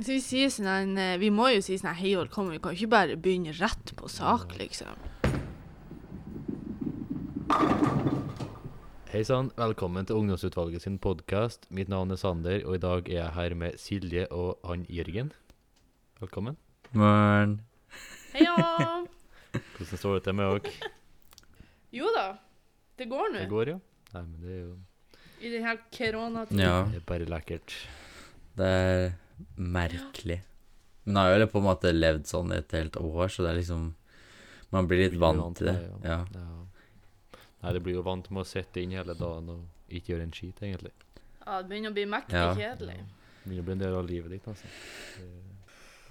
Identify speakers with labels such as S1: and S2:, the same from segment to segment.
S1: Så vi sier sånn en, eh, Vi må jo si sånn hei og velkommen. Vi kan jo ikke bare begynne rett på sak, liksom.
S2: Hei sann, velkommen til Ungdomsutvalget sin podkast. Mitt navn er Sander, og i dag er jeg her med Silje og han Jørgen. Velkommen.
S3: Morn.
S1: Heia!
S2: Hvordan står det til med dere?
S1: Jo da. Det går nå.
S2: Det går, ja? Nei, men det er jo
S1: I denne koronatiden.
S3: Ja,
S2: det er bare lekkert.
S3: det er merkelig. Men jeg har jo på en måte levd sånn et helt år, så det er liksom Man blir litt
S2: Blir
S3: vant til det. Ja.
S2: Ja. Nei, det blir jo vant med å sitte inn hele dagen og ikke gjøre en skit, egentlig.
S1: Ja, det begynner å bli mektig
S3: Ja.
S1: kjedelig.
S2: Det begynner å bli en del av livet ditt, altså. Det-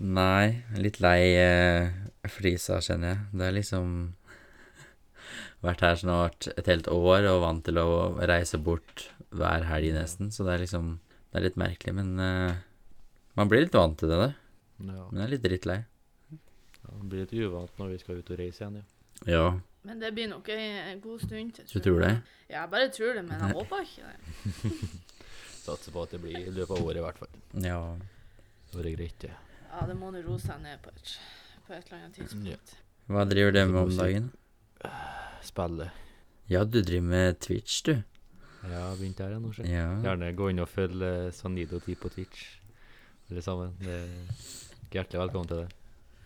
S3: Nei, litt lei eh, flisa, kjenner jeg. Det er liksom Vært her snart et helt år og vant til å reise bort hver helg nesten, så det er liksom Det er litt merkelig, men eh, man blir litt vant til det, da.
S2: Ja.
S3: Men jeg er litt drittlei.
S2: ja. Det blir litt uvant når vi skal ut og reise igjen, ja.
S3: Ja,
S1: Men det blir nok ei ei god stund til.
S3: du tror det?
S1: Ja, jeg bare tror det, men jeg håper ikke det.
S2: Satser på at det blir i løpet av året, i hvert fall.
S3: Ja.
S2: Det hadde vært greit, det.
S1: Ja, det må nå roe seg ned på et, på et eller annet tidspunkt.
S2: Ja.
S3: Hva driver du med om dagen?
S2: Spille.
S3: Ja, du driver med Twitch, du.
S2: Ja, begynt der, ja, nå, sjø.
S3: Ja.
S2: Gjerne gå inn og følge eh, Sanido 10 på Twitch. Alle sammen. Det er hjertelig velkommen til det.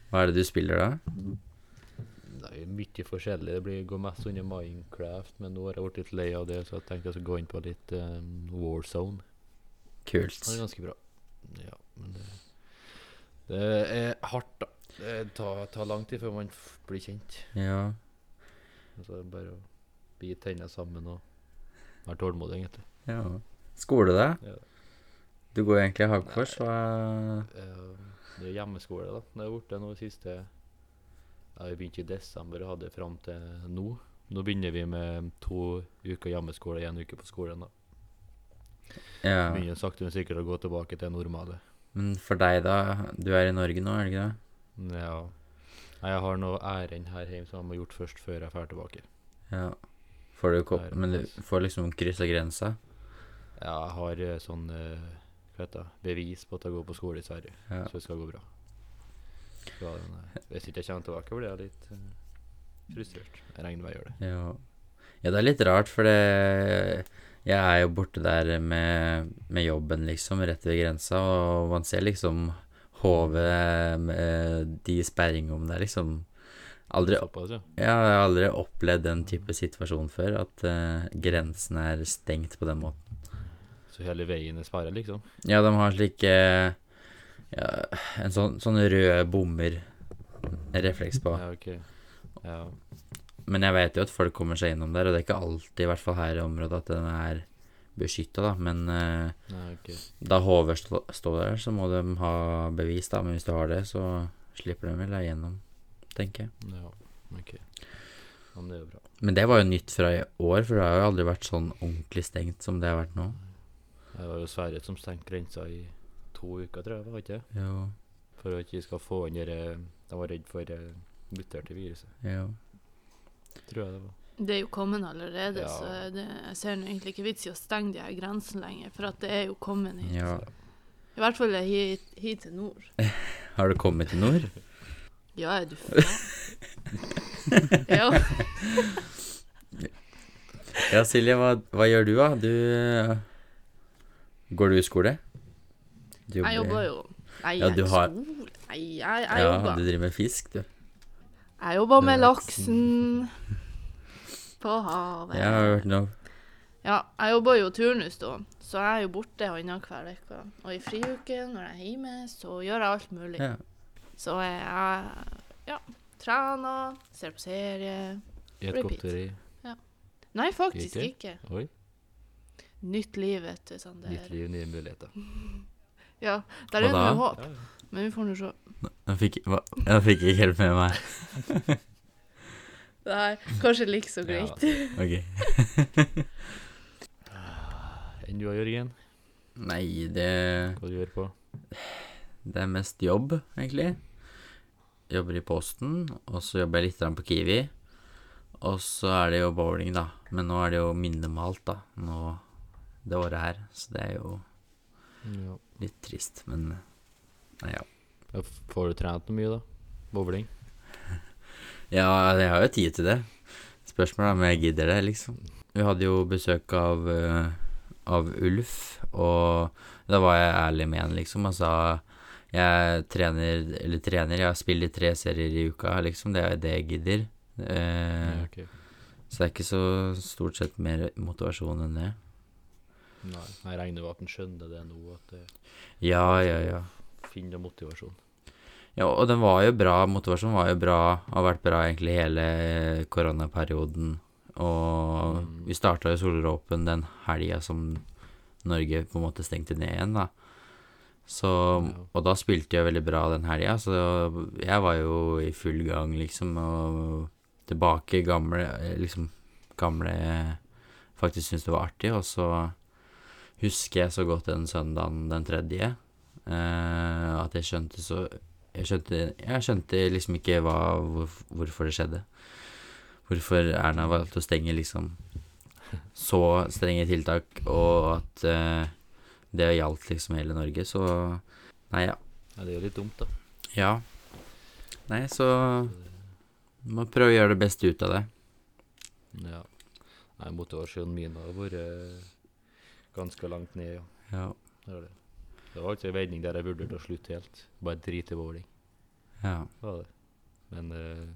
S3: Hva er det du spiller, da?
S2: Det er jo mye forskjellig. Det blir, går mest under Minecraft, men nå har jeg blitt litt lei av det, så jeg tenkte jeg skulle gå inn på litt um, War Zone.
S3: Kult.
S2: Det er ganske bra. Ja, men det, det er hardt, da. Det tar, tar lang tid før man f- blir kjent.
S3: Ja.
S2: Så det er bare å bite tennene sammen og være tålmodig, egentlig.
S3: ja. Skole, da?
S2: Ja.
S3: Du går egentlig hagkors, hva
S2: Eh, Det er hjemmeskole, da. Det har jeg blitt nå i siste ja, Vi begynte i desember og hadde fram til nå. Nå begynner vi med to uker hjemmeskole og én uke på skolen. da.
S3: Ja.
S2: Begynner sakte, men sikkert å gå tilbake til normale.
S3: Men for deg, da? Du er i Norge nå, er du ikke det?
S2: Ja. Nei, Jeg har noe ærend her hjemme som jeg må ha gjort først før jeg drar tilbake.
S3: Ja. Får du kom...
S2: Nei, det er
S3: Men du
S2: faktisk-
S3: får liksom kryssa grensa?
S2: Ja, jeg har eh, sånn eh, hva heter det, bevis på at jeg går på skole i Sverige,
S3: Ja.
S2: så det skal gå bra. Så, nei, hvis ikke jeg kommer tilbake, blir jeg litt eh, frustrert. Jeg regner med jeg gjør det.
S3: Ja. ja, det er litt rart, for det Jeg er jo borte der med, med jobben, liksom, rett ved grensa, og man ser liksom hodet med de sperringene der, liksom. Aldri,
S2: Såpass, ja.
S3: jeg har aldri opplevd den type situasjon før, at eh, grensen er stengt på den måten.
S2: Så hele veien er sperra, liksom?
S3: Ja, de har slik eh, ja, en sånn, sånn rød bomber refleks på.
S2: Ja, ok. Ja.
S3: Men jeg vet jo at folk kommer seg innom der, og det er ikke alltid, i hvert fall her i området, at den er beskytta, da. Men eh,
S2: Nei, ok.
S3: da HV stå- står der, så må de ha bevis, da. Men hvis du har det, så slipper de vel deg gjennom, tenker jeg.
S2: Ja, ok. Ja, men det er jo bra.
S3: Men det var jo nytt fra i år, for det har jo aldri vært sånn ordentlig stengt som det har vært nå.
S2: Det var jo Sverige som stengte grensa i to uker, tror jeg, var det ikke? det?
S3: Jo,
S2: For at de skal få inn det De var redd for eh, muterte viruset,
S3: jo.
S2: tror jeg det var.
S1: Det er jo kommet allerede,
S2: Ja.
S1: så er det, jeg ser nå egentlig ikke vits i å stenge de her grensene lenger, for at det er jo kommet hit.
S3: Ja.
S1: I hvert fall er hit, hit til nord.
S3: Har du kommet til nord?
S1: Ja, er du faen? ja,
S3: Ja, Silje, hva, hva gjør du, da? Du eh, Går du i skole? Du
S1: jeg jobber jo. Nei,
S3: Ja,
S1: jeg
S3: du
S1: er
S3: har-
S1: skole. Nei, jeg, jeg
S3: Ja,
S1: jobber.
S3: du driver med fisk, du.
S1: Jeg jobber med
S3: Laksen.
S1: laksen på havet.
S3: Jeg har hørt noe.
S1: Ja, jeg jobber jo turnus, da, så jeg er jo borte annenhver uke. Og i friuken, når jeg er hjemme, så gjør jeg alt mulig.
S3: Ja.
S1: Så jeg ja, trener, ser på serie
S2: I et
S1: Repeat.
S2: godteri.
S1: Nei, faktisk ikke.
S2: Ikke? Oi.
S1: Nytt liv, vet du, Sander.
S2: Nytt liv, nye muligheter.
S1: Ja, der er det
S3: Hva da?
S1: med håp,
S2: Ja, ja.
S1: men vi får nå se.
S3: Jeg fikk, hva- jeg fikk ikke helt med meg.
S1: Nei, kanskje like så
S2: Ja.
S1: greit.
S3: Ok.
S2: Enn du, Jørgen?
S3: Nei, det,
S2: Hva du gjør på?
S3: det er mest jobb, egentlig. Jobber i Posten, og så jobber jeg litt grann på Kiwi. Og så er det jo bowling, da. Men nå er det jo minnemalt, da. Nå, det året her. Så det er jo
S2: Ja.
S3: litt trist, men
S2: Ja, f- Får du trent noe mye, da? Bowling?
S3: Ja, jeg har jo tid til det. Spørsmålet er om jeg gidder det, liksom. Vi hadde jo besøk av, eh, av Ulf, og da var jeg ærlig med han, liksom, og sa jeg trener, eller trener, jeg spiller tre serier i uka, liksom, det er det jeg gidder. Eh,
S2: Ja, ok.
S3: Så det er ikke så stort sett mer motivasjon enn det.
S2: Nei, jeg regner med at han skjønner det nå, at det
S3: Ja, ja, ja.
S2: finner motivasjon.
S3: Ja, og den var jo bra, motivasjonen var jo bra, har vært bra egentlig hele koronaperioden. Og
S2: Mm.
S3: vi starta jo Solråpen den helga som Norge på en måte stengte ned igjen, da. Så,
S2: Ja.
S3: og da spilte jeg veldig bra den helga, så jeg var jo i full gang, liksom, og tilbake i gamle Liksom gamle Faktisk syntes det var artig, og så husker jeg så godt den søndagen den tredje. eh, at jeg skjønte så jeg skjønte, jeg skjønte liksom ikke hva, hvor, hvorfor det skjedde. Hvorfor Erna valgte å stenge liksom så strenge tiltak, og at eh, det gjaldt liksom hele Norge, så Nei, ja.
S2: Ja, det er jo litt dumt, da.
S3: ja. Nei, så må prøve å gjøre det beste ut av det.
S2: Ja. Nei, motivasjonen min har vært eh, ganske langt ned, ja.
S3: Ja.
S2: Det, er det. det var altså en veining der jeg vurderte å slutte helt. Bare drite i bowling.
S3: ja.
S2: Det var det. Men eh,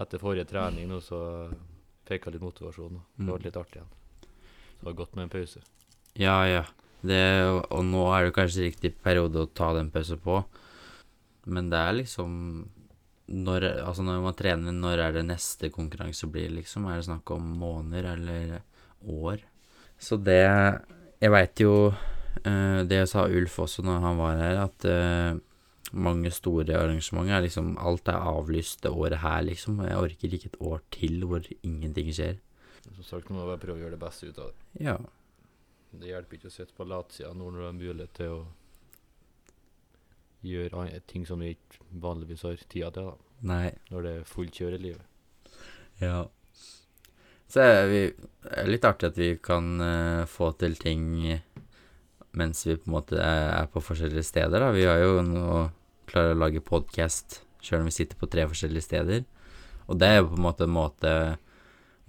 S2: etter forrige trening nå, så fikk jeg litt motivasjon. og Det
S3: Mm.
S2: ble litt artig igjen. Så det var godt med en pause.
S3: Ja, ja. Det, og nå er det kanskje riktig periode å ta den pausen på. Men det er liksom når, altså når man trener, når er det neste konkurranse blir, liksom? Er det snakk om måneder eller år? Så det Jeg veit jo eh, Det sa Ulf også når han var her, at eh, mange store arrangementer er liksom Alt er avlyst det året her, liksom. Jeg orker ikke et år til hvor ingenting skjer.
S2: Som sagt, nå må jeg bare prøve å gjøre det beste ut av det.
S3: Ja.
S2: Det hjelper ikke å sitte på latsida nå når du har mulighet til å gjøre an- ting som du ikke vanligvis har tida til, da.
S3: Nei.
S2: Når det er fullt kjør i livet.
S3: Ja. Så er vi, det er litt artig at vi kan eh, få til ting mens vi på en måte er, er på forskjellige steder, da. Vi har jo nå klarer å lage podkast sjøl om vi sitter på tre forskjellige steder. Og det er jo på en måte en måte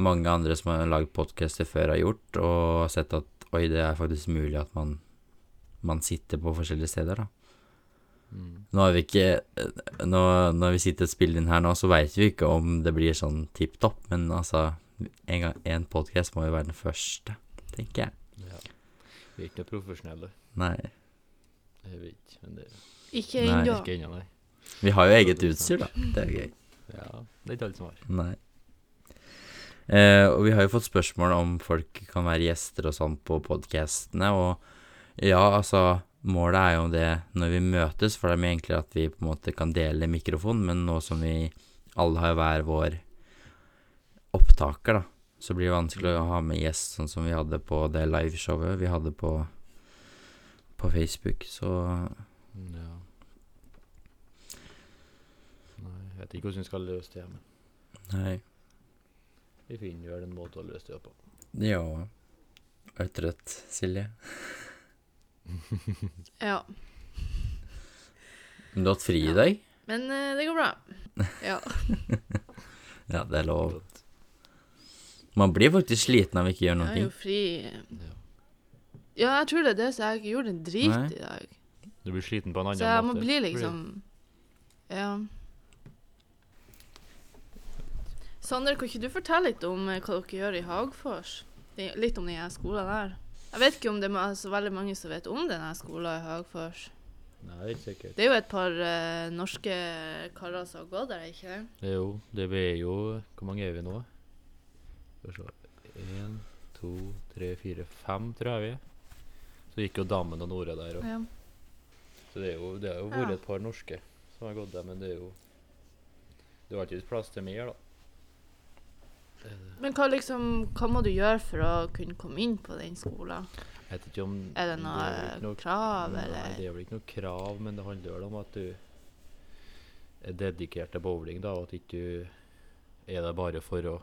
S3: mange andre som har lagd podkaster før, har gjort, og har sett at oi, det er faktisk mulig at man, man sitter på forskjellige steder, da.
S2: Mm.
S3: Nå har vi ikke eh, nå, Når vi sitter og spiller inn her nå, så veit vi ikke om det blir sånn tipp topp, men altså En, gang- en podkast må jo være den første, tenker jeg.
S2: Ja. Vi er ikke noe profesjonelle.
S3: Nei.
S2: Jeg vet ikke, men det
S1: Ikke
S3: Nei,
S1: ennå.
S2: ikke ennå, nei.
S3: Vi har jo eget utstyr, da. Det er gøy.
S2: Ja, det er ikke alle som har.
S3: Nei. Eh, og vi har jo fått spørsmål om folk kan være gjester og sånn på podkastene, og ja, altså Målet er jo det når vi møtes, for det er mye enklere at vi på en måte kan dele mikrofon, men nå som vi alle har hver vår opptaker, da, så blir det vanskelig å ha med gjest, sånn som vi hadde på det liveshowet vi hadde på, på Facebook, så
S2: Mm, Ja. Nei, jeg vet ikke hvordan vi skal løse det, men
S3: Nei.
S2: vi finner vel en måte å løse det på.
S3: Ja. Er du trøtt, Silje?
S1: Ja.
S3: Men du har hatt fri i dag?
S1: Men eh, det går bra. Ja.
S3: Ja, det er lov. Man blir faktisk sliten av ikke å gjøre
S1: Jeg
S3: noen
S1: er jo
S3: ting.
S1: fri
S2: Ja.
S1: Ja, jeg tror det er det, så jeg har ikke gjort en drit
S3: Nei.
S1: i dag.
S2: Du blir sliten på en annen
S1: Så jeg må
S2: måte.
S1: bli liksom Ja. Sander, kan ikke du fortelle litt om eh, hva dere gjør i Hagfors? Det- Litt om den her skolen der. Jeg vet ikke om det er ma- så veldig mange som vet om denne skolen i Hagfors.
S2: Nei, det er ikke sikkert.
S1: Det er jo et par eh, norske karer som har gått der, ikke det?
S2: Det er jo det vi er jo Hvor mange er vi nå? Skal vi se Én, to, tre, fire, fem, tror jeg vi er. Så gikk jo Dammen og Nora der òg.
S1: Ja.
S2: Så det er jo, det har jo
S1: Ja.
S2: vært et par norske som har gått der, men det er jo Det var ikke plass til mer, da.
S1: Men hva, liksom, hva må du gjøre for å kunne komme inn på den skolen?
S2: Jeg vet ikke om
S1: Er det
S2: er
S1: noe
S2: vel ikke noe-
S1: krav,
S2: Nei,
S1: eller?
S2: det er vel ikke noe krav, men det handler vel om at du er dedikert til bowling, da, og at ikke du er der bare for å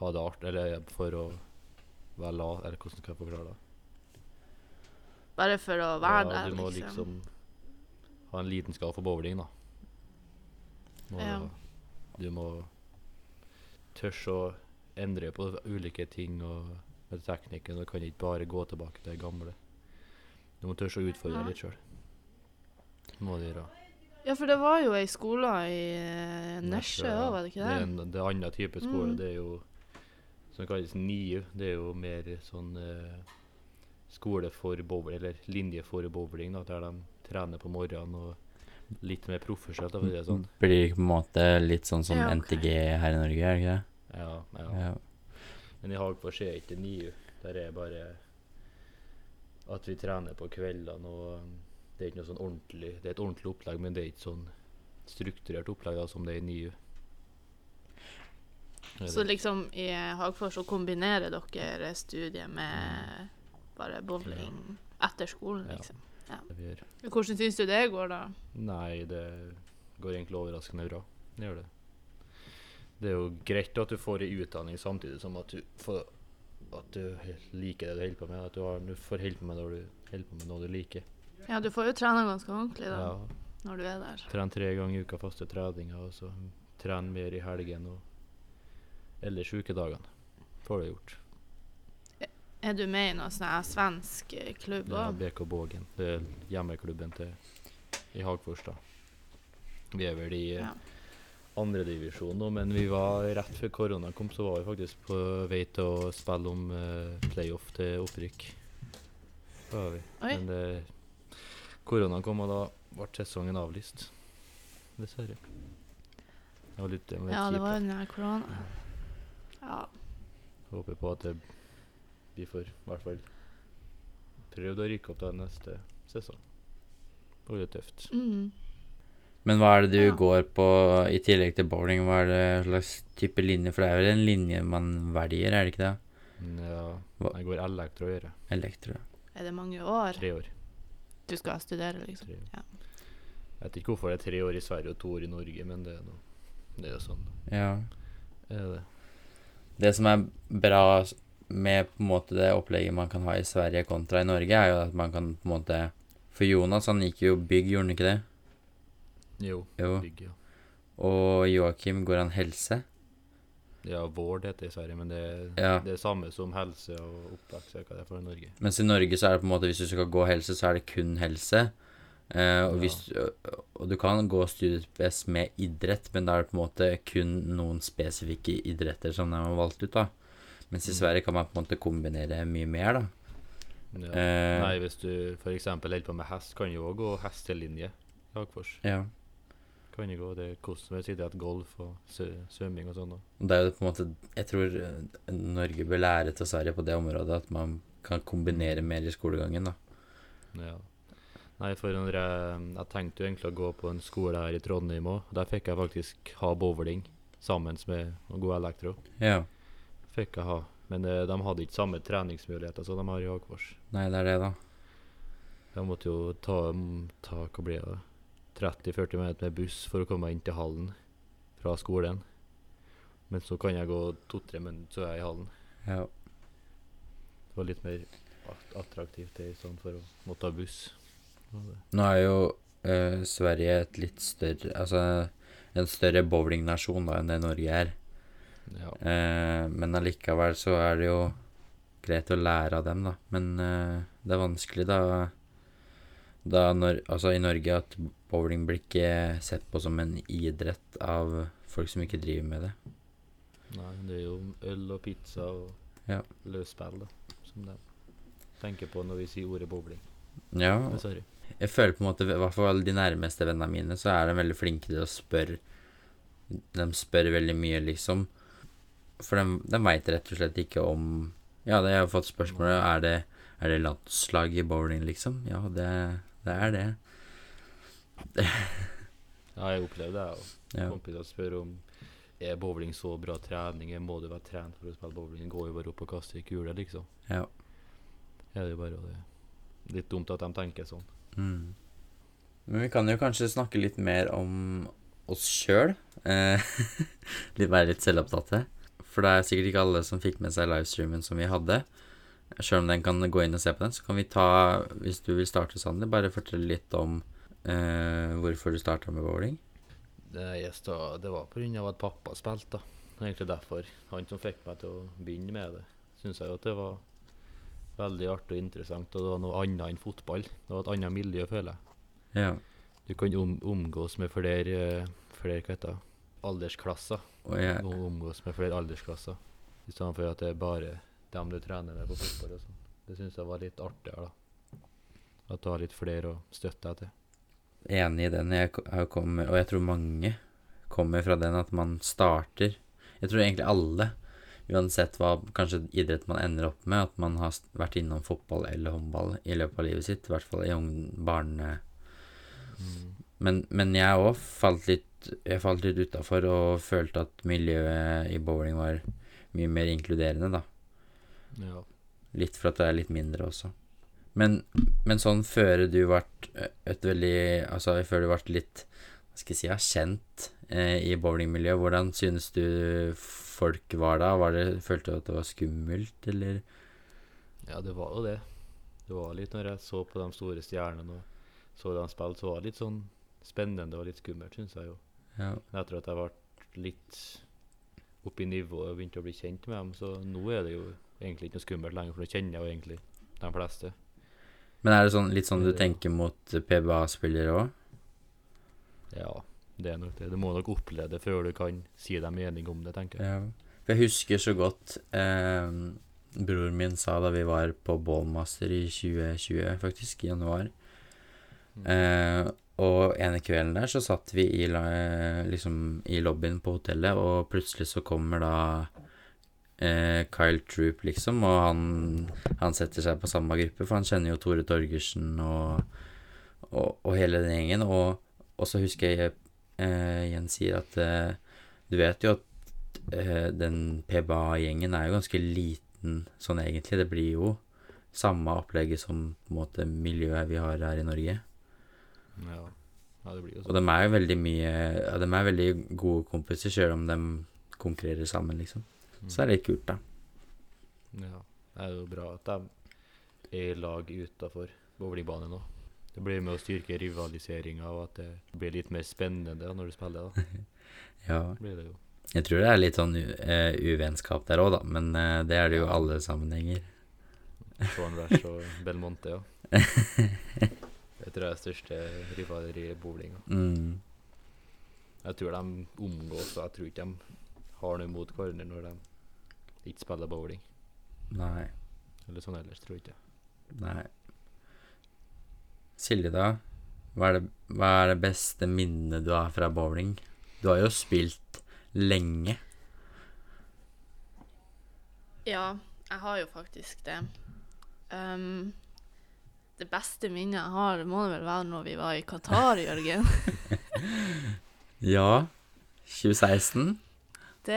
S2: ha det art, eller for å være la, eller hvordan skal jeg forklare det?
S1: Bare for å være
S2: Ja,
S1: der,
S2: Du må
S1: liksom.
S2: liksom ha en lidenskap for bowling, da. Når
S1: Ja.
S2: du må tørs å endre på ulike ting og med teknikken. Du kan ikke bare gå tilbake til det gamle. Du må tørs å utfordre
S1: Ja.
S2: litt sjøl. Må du gjøre.
S1: Ja, for det var jo ei skole i eh, Nesje
S2: Nesje, ja.
S1: òg, var det
S2: Det
S1: ikke
S2: er
S1: det?
S2: en det er annen type skole.
S1: Mm.
S2: Det er jo som kalles NIU. Det er jo mer sånn eh, skole for bowling, eller linje for bowling, da, der de trener på morgenen og litt mer profesjonelt, da, for å si det sånn.
S3: Blir det ikke på en måte litt sånn som
S1: Ja, ok.
S3: NTG her i Norge, er det ikke det?
S1: Mm.
S2: Ja, ja.
S3: Ja.
S2: Men i Hagfors er ikke NIU. Der er bare at vi trener på kveldene og um, det er ikke noe sånn ordentlig Det er et ordentlig opplegg, men det er ikke sånn strukturert opplegg da, som det er i NIU. Er
S1: Så
S2: det-
S1: liksom i eh, Hagfors så kombinerer dere studiet med bare bowling etter skolen,
S2: Ja.
S1: liksom.
S2: det vi gjør.
S1: Hvordan syns du det går, da?
S2: Nei, det går egentlig overraskende bra. Det gjør det. Det er jo greit at du får ei utdanning samtidig som at du får at du liker det du holder på med. At du, har, du får holde på med når du holder på med noe du liker.
S1: Ja, du får jo trene ganske ordentlig da,
S2: Ja,
S1: når du er der.
S2: Tren tre ganger i uka faste treninger, og så tren mer i helgen og ellers ukedagene. Får det gjort.
S1: Er du med i noen sånn her svensk eh, klubb
S2: Det er
S1: òg?
S2: BK Bågen. Det er hjemmeklubben til i Hagfors, da. Vi er vel i eh,
S1: Ja.
S2: andre divisjon nå, men vi var rett før korona kom, så var vi faktisk på vei til å spille om eh, playoff til opprykk. Det var vi.
S1: Oi.
S2: Men det, koronaen kom, og da ble sesongen avlyst. Dessverre. Det var litt, det var litt
S1: Ja, det
S2: kjipt, da.
S1: var jo den her korona. Ja.
S2: Håper på at det, vi får i hvert fall prøvd å rykke opp da neste sesong. Det blir tøft.
S1: Mm.
S3: Men hva er det du
S1: Ja.
S3: går på i tillegg til bowling? Hva er det slags type linje? For det er vel en linje man velger, er det ikke det?
S2: Ja,
S3: Hva-
S2: jeg går elektro å gjøre.
S3: Elektro.
S1: Er det mange år
S2: Tre år.
S1: du skal studere, liksom?
S2: Tre år.
S1: Ja.
S2: Jeg vet ikke hvorfor det er tre år i Sverige og to år i Norge, men det er noe. Det er jo sånn.
S3: Ja.
S2: Er det.
S3: Det som er bra s- med på en måte det opplegget man kan ha i Sverige kontra i Norge, er jo at man kan på en måte For Jonas, han gikk jo bygg, gjorde han ikke det?
S2: Jo.
S3: Jo.
S2: Bygg, ja.
S3: Og Joakim, går han helse?
S2: ja, Vård heter det i Sverige, men det er
S3: Ja.
S2: det er samme som helse og oppvekst. Jeg vet ikke hva det er for i Norge.
S3: Mens i Norge så er det på en måte hvis du skal gå helse, så er det kun helse. Eh, og,
S2: Ja.
S3: hvis, og- og du kan gå studiet best med idrett, men da er det på en måte kun noen spesifikke idretter som de har valgt ut, da. Mens i
S2: Mm.
S3: Sverige kan man på en måte kombinere mye mer, da.
S2: Ja.
S3: Eh.
S2: Nei, hvis du f.eks. holder på med hest, kan jo òg gå hestelinje i Hagfors.
S3: Ja.
S2: Kan jo gå det er hvordan vi sier at golf og sø- svømming og sånn. da.
S3: Og det er jo på en måte Jeg tror eh, Norge bør lære til Sverige på det området at man kan kombinere mer i skolegangen, da.
S2: Ja. Nei, for når jeg, jeg tenkte jo egentlig å gå på en skole her i Trondheim òg. Der fikk jeg faktisk ha bowling sammen med å gå elektro.
S3: Ja.
S2: Fikk jeg ha. Men eh, de hadde ikke samme treningsmuligheter som de har i Hagfors.
S3: Nei, det er det, da.
S2: Jeg måtte jo ta, mm, ta hva blir det, 30-40 eh, minutter med buss for å komme meg inn til hallen fra skolen. Men så kan jeg gå to-tre minutter, så er jeg i hallen.
S3: Ja.
S2: Det var litt mer at- attraktivt det, i stedet for å måtte ta buss. Ja, det-
S3: Nå er jo eh, Sverige et litt større Altså en større bowlingnasjon da enn det Norge er.
S2: Ja.
S3: Eh, men allikevel så er det jo greit å lære av dem, da. Men eh, det er vanskelig da da når, altså i Norge at bowling blir ikke sett på som en idrett av folk som ikke driver med det.
S2: Nei, det er jo øl og pizza og
S3: Ja.
S2: løsspill, da, som de tenker på når vi sier ordet bowling.
S3: Ja,
S2: Dessverre.
S3: Jeg føler på en måte, i hvert fall de nærmeste vennene mine, så er de veldig flinke til å spørre. De spør veldig mye, liksom. For de, de veit rett og slett ikke om Ja, det jeg har fått spørsmålet er det er det landslag i bowling, liksom. Ja, det, det er det.
S2: Ja, jeg opplevde det, jeg òg.
S3: Ja.
S2: Kompiser spør om er bowling så bra trening, må du være trent for å spille bowling? Går jo bare opp og kaster ei kule, liksom.
S3: ja.
S2: Ja, det er bare det. Litt dumt at de tenker sånn.
S3: Mm. Men vi kan jo kanskje snakke litt mer om oss sjøl. Eh, litt- være litt selvopptatte. For det er sikkert ikke alle som fikk med seg livestreamen som vi hadde. Sjøl om den kan gå inn og se på den, så kan vi ta, hvis du vil starte, Sander, bare fortelle litt om eh, hvorfor du starta med bowling?
S2: Det, jeg sta- det var pga. at pappa spilte, da. Det er Egentlig derfor. Han som fikk meg til å begynne med det. Syns jeg jo at det var veldig artig og interessant, og det var noe annet enn fotball. Det var et annet miljø, føler jeg.
S3: Ja.
S2: Du kan om, omgås med flere, eh, flere hva heter det, aldersklasser.
S3: Og jeg,
S2: Og omgås med flere aldersklasser. I stedet for at det er bare dem du trener med på fotball og sånn. Det syns jeg var litt artigere, da. At du har litt flere å støtte deg til.
S3: enig i den. Jeg, ko- jeg kommer, og jeg tror mange kommer fra den at man starter Jeg tror egentlig alle, uansett hva kanskje idrett man ender opp med, at man har s- vært innom fotball eller håndball i løpet av livet sitt. I hvert fall i ung barne...
S2: Mm.
S3: Men, men jeg òg falt litt Jeg falt litt utafor og følte at miljøet i bowling var mye mer inkluderende, da.
S2: Ja.
S3: Litt for at det er litt mindre også. Men, men sånn før du ble eh, et veldig Altså før du ble litt Hva skal jeg si ja, kjent eh, i bowlingmiljøet, hvordan synes du folk var da? Var det, følte du at det var skummelt, eller?
S2: Ja, det var jo det. Det var litt når jeg så på de store stjernene og så dem spille, så var det litt sånn spennende og litt skummelt, syns jeg jo.
S3: Ja.
S2: Men etter at jeg ble litt opp i nivå og begynte å bli kjent med dem, så nå er det jo egentlig ikke noe skummelt lenger, for nå kjenner jeg jo egentlig de fleste.
S3: Men er det sånn, litt sånn du
S2: Det-
S3: tenker mot PBA-spillere òg?
S2: Ja, det er nok det. Du må nok oppleve det før du kan si deg mening om det, tenker jeg.
S3: Ja. For jeg husker så godt eh, Broren min sa da vi var på Ballmaster i 2020, faktisk, i januar
S2: Mm.
S3: eh, Og ene kvelden der så satt vi i, la- liksom, i lobbyen på hotellet, og plutselig så kommer da eh, Kyle Troop, liksom, og han, han setter seg på samme gruppe, for han kjenner jo Tore Torgersen og, og, og hele den gjengen. Og, og så husker jeg eh, Jens sier at eh, du vet jo at eh, den PBA-gjengen er jo ganske liten sånn egentlig. Det blir jo samme opplegget som på en måte miljøet vi har her i Norge.
S2: Ja. ja, det blir jo
S3: Og
S2: sånn.
S3: de er jo veldig mye ja, De er veldig gode kompiser, selv om de konkurrerer sammen, liksom. Så det er litt kult, da.
S2: Ja. Det er jo bra at de er i lag utafor bowlingbanen òg. Det blir med å styrke rivaliseringa, og at det blir litt mer spennende når du spiller. da.
S3: Ja.
S2: Blir det jo.
S3: Jeg tror det er litt sånn u- eh, uvennskap der òg, da. Men eh, det er det jo i alle sammenhenger.
S2: Sean Rash og Belmonte, ja. Det tror jeg er største rivaleriet i bowlinga.
S3: Mm.
S2: Jeg tror de omgås, og jeg tror ikke de har noe mot hverandre når de ikke spiller bowling.
S3: Nei.
S2: Eller sånn ellers, tror jeg ikke.
S3: Nei. Silje, da? Hva er, det, hva er det beste minnet du har fra bowling? Du har jo spilt lenge.
S1: Ja, jeg har jo faktisk det. Ehm, det beste minnet jeg har, må det vel være når vi var i Qatar, Jørgen.
S3: Ja. 2016?
S1: Det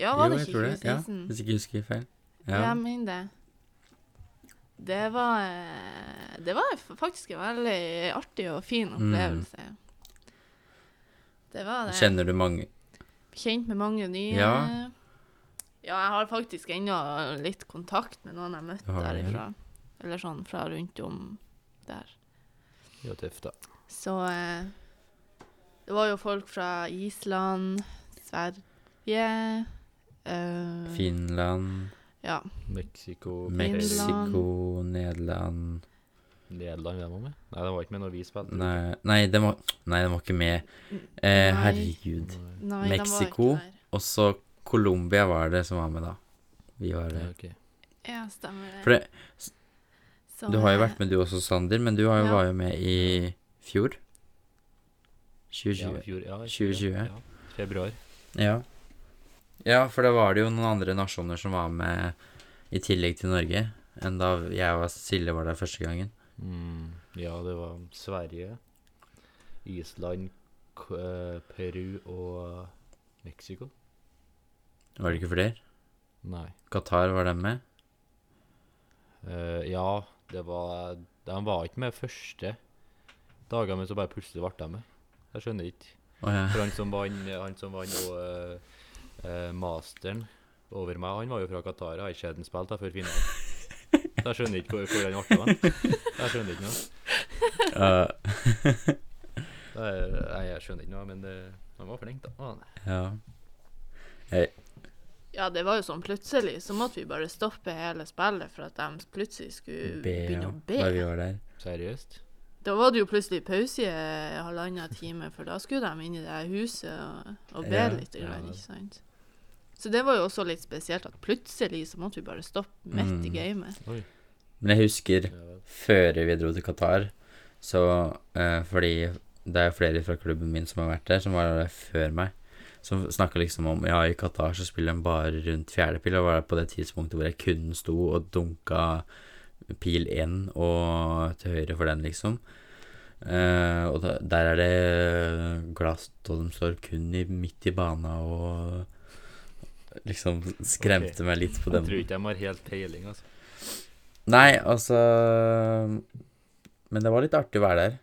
S1: Ja, var
S3: Jo,
S1: det
S3: jeg
S1: ikke
S3: tror det. Ja,
S1: 2016?
S3: hvis ikke jeg husker feil.
S1: Ja.
S3: Ja.
S1: Jeg mener det. Det var eh, Det var f- faktisk en veldig artig og
S3: Mm.
S1: fin opplevelse. Det var det.
S3: Kjenner du mange
S1: Kjent med mange nye.
S3: Ja.
S1: Ja, jeg har faktisk ennå litt kontakt med noen jeg møtte
S3: Du har det, ja.
S1: derifra. Eller sånn fra rundt om der.
S2: Det er jo tøft, da.
S1: Så eh, det var jo folk fra Island, Sverige eh,
S3: Finland,
S1: Ja.
S2: Mexico
S1: Finland.
S3: Mexico, Nederland
S2: Nederland, de var med? Nei, de var ikke med når vi spilte.
S3: Nei, nei, den var, nei, den var ikke med. Eh,
S1: Nei.
S3: herregud.
S1: Nei, de var ikke
S3: Mexico.
S1: der.
S3: Og så Colombia var det som var med, da. Vi var
S2: Ja,
S3: eh, det.
S2: ok.
S1: Ja, stemmer det.
S3: For det,
S1: Så,
S3: du har jo
S1: eh,
S3: vært med du også, Sander, men du har jo,
S1: Ja.
S3: var jo med i fjor.
S2: Ja,
S3: 2020.
S2: i fjor, ja, i
S3: 2020.
S2: fjor, Ja. Februar.
S3: Ja. ja, for da var det jo noen andre nasjoner som var med i tillegg til Norge, enn da jeg og Silje var der første gangen.
S2: Mm. Ja, det var Sverige, Island, K eh, Peru og Mexico.
S3: Var det ikke flere?
S2: Nei.
S3: Qatar var dem med.
S2: Eh, ja, det var De var ikke med første dagen, men så bare plutselig ble de med. Jeg skjønner ikke.
S3: Å ja.
S2: For han som vant han som vant og, eh, eh, masteren over meg, han var jo fra Qatar. Jeg har ikke sett han spille da før finalen. Så jeg skjønner ikke hvor, hvor han ble av. Jeg skjønner ikke noe.
S3: Ja.
S2: Det er, nei, jeg skjønner ikke noe, men det, han var flink, da. Å, nei.
S3: Ja.
S1: Ja, det var jo sånn plutselig, så måtte vi bare stoppe hele spillet for at de plutselig skulle
S3: Be,
S1: begynne
S3: ja.
S1: å
S3: Da vi
S1: be.
S3: var der.
S2: Seriøst?
S1: Da var det jo plutselig pause i eh, halvannen time, for da skulle de inn i det her huset og, og be
S3: Ja.
S1: litt,
S2: Ja,
S1: grann,
S2: vel.
S1: ikke sant? Så det var jo også litt spesielt at plutselig så måtte vi bare stoppe midt i
S3: Mm.
S1: gamet.
S2: Oi.
S3: Men jeg husker
S2: Ja vel.
S3: før vi dro til Qatar, så eh, Fordi det er jo flere fra klubben min som har vært der, som var der før meg. Som snakka liksom om Ja, i Qatar så spiller de bare rundt fjerde pil, og var det på det tidspunktet hvor jeg kun sto og dunka pil én og til høyre for den, liksom. Eh, og da, der er det glass, og de står kun i, midt i bana og Liksom skremte meg litt på
S2: Jeg
S3: den
S2: tror ikke de har helt peiling, altså.
S3: Nei, altså Men det var litt artig å være der.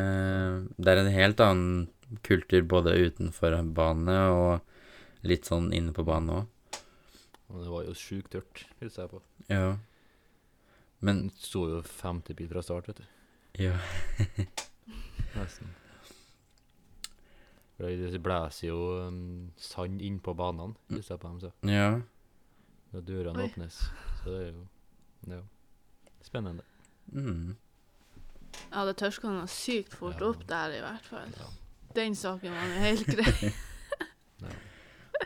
S3: Eh, det er en helt annen kultur både utenfor banene og litt sånn inne på banen òg.
S2: Men det var jo sjukt tørt, husker jeg på.
S3: Ja. Men
S2: Den sto jo femte bil fra start, vet du.
S3: ja.
S2: Nesten. For Det det blæser jo um, sand inn på banene, husker jeg på dem, så.
S3: ja.
S2: Når dørene
S1: Oi.
S2: åpnes. Så det er jo det er jo spennende.
S3: Mm.
S1: Ja, det tørska noe sykt fort
S2: Ja.
S1: opp der, i hvert fall.
S2: Ja.
S1: Den saken var jo helt grei.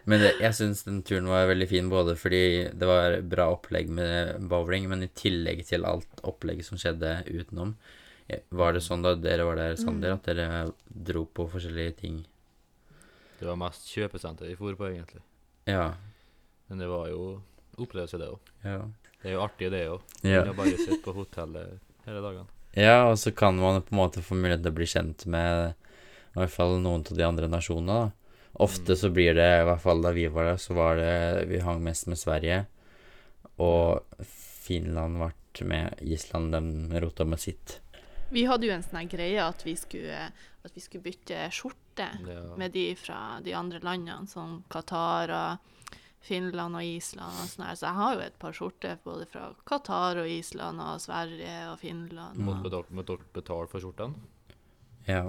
S3: Men det, jeg syns den turen var veldig fin, både fordi det var bra opplegg med bowling, men i tillegg til alt opplegget som skjedde utenom. eh, Var det sånn da dere var der, Sander, at dere dro på forskjellige ting?
S2: Det var mest kjøpesenter vi for på, egentlig.
S3: Ja.
S2: Men det var jo opplevelse, det òg.
S3: Ja.
S2: Det er jo artig, det òg.
S3: ja.
S2: Kunne bare sitte på hotellet hele dagen.
S3: Ja, og så kan man på en måte få mulighet til å bli kjent med i hvert fall noen av de andre nasjonene, da. Ofte så blir det, i hvert fall da vi var der, så var det Vi hang mest med Sverige, og Finland ble med Island, de rota med sitt.
S1: Vi hadde jo en sånn her greie at vi skulle, at vi skulle bytte skjorte
S2: Ja.
S1: med de fra de andre landene, som Qatar og Finland og Island og sånn her. Så jeg har jo et par skjorter både fra Qatar og Island og Sverige og Finland.
S2: Måtte
S1: Og...
S2: betale, måtte dere betale for skjortene.
S3: Ja.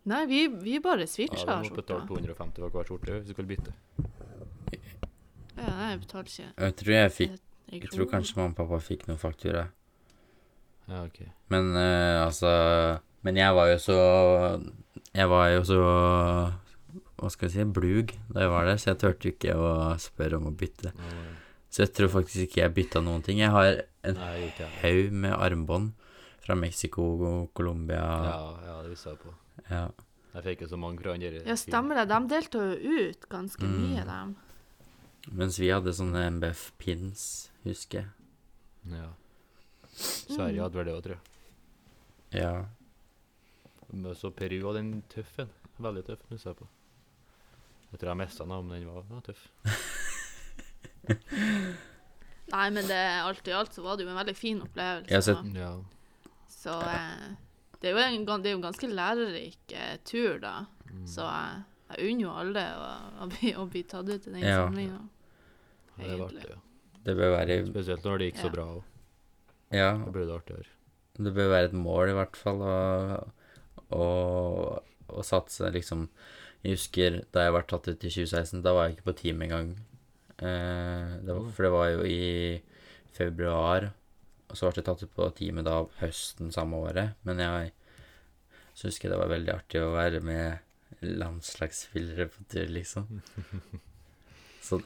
S1: Nei, vi, vi bare
S2: Ja, vi
S1: switcha
S2: måtte betale
S1: skjorta.
S2: 250 for hver skjorte hvis du skulle bytte.
S1: Ja, nei, jeg betalte ikke
S3: Jeg tror jeg fikk
S1: en
S3: Jeg tror
S1: krone.
S3: kanskje mamma og pappa fikk noen faktura.
S2: Ja, ok.
S3: Men eh, altså Men jeg var jo så Jeg var jo så Hva skal jeg si Blug da jeg var der, så jeg turte jo ikke å spørre om å bytte.
S2: Nå,
S3: Så jeg tror faktisk ikke jeg bytta noen ting. Jeg har en
S2: nei, ikke jeg.
S3: haug med armbånd fra Mexico og
S2: Ja,
S3: Colombia.
S2: ja, det visste jeg på.
S3: Ja.
S2: Jeg fikk jo så mange fra andre.
S1: Ja, stemmer det. De delte jo ut ganske
S3: Mm.
S1: mye, dem.
S3: Mens vi hadde sånne MBF-pins, husker jeg.
S2: Ja. Sverige hadde vel det òg, tror jeg.
S3: Ja.
S2: Men så Peru var den tøff en. Veldig tøff, husker jeg på. Jeg tror jeg mista den, men den var, den var tøff.
S1: Nei, men det, alt i alt så var det jo en veldig fin opplevelse.
S3: Jeg har sett-
S1: da.
S2: Ja.
S1: Så eh, det, er jo en, gan- det er jo en ganske lærerik eh, tur, da.
S3: Mm.
S1: Så eh, jeg unner jo alle å, å, bli, å bli tatt ut i den
S3: Ja.
S1: samlinga.
S2: Det var
S1: Egentlig.
S2: artig. Ja.
S3: Det bør være
S2: Spesielt når det gikk så
S1: Ja.
S2: bra òg.
S3: Ja,
S2: Da ble det artigere.
S3: det bør være et mål, i hvert fall, å, å, å satse, liksom. Jeg husker da jeg var tatt ut i 2016, da var jeg ikke på team engang. Eh, det var, for det var jo i februar, og så ble jeg tatt ut på teamet da høsten samme året. Men jeg så husker jeg det var veldig artig å være med landslagsspillere på tur, liksom. Så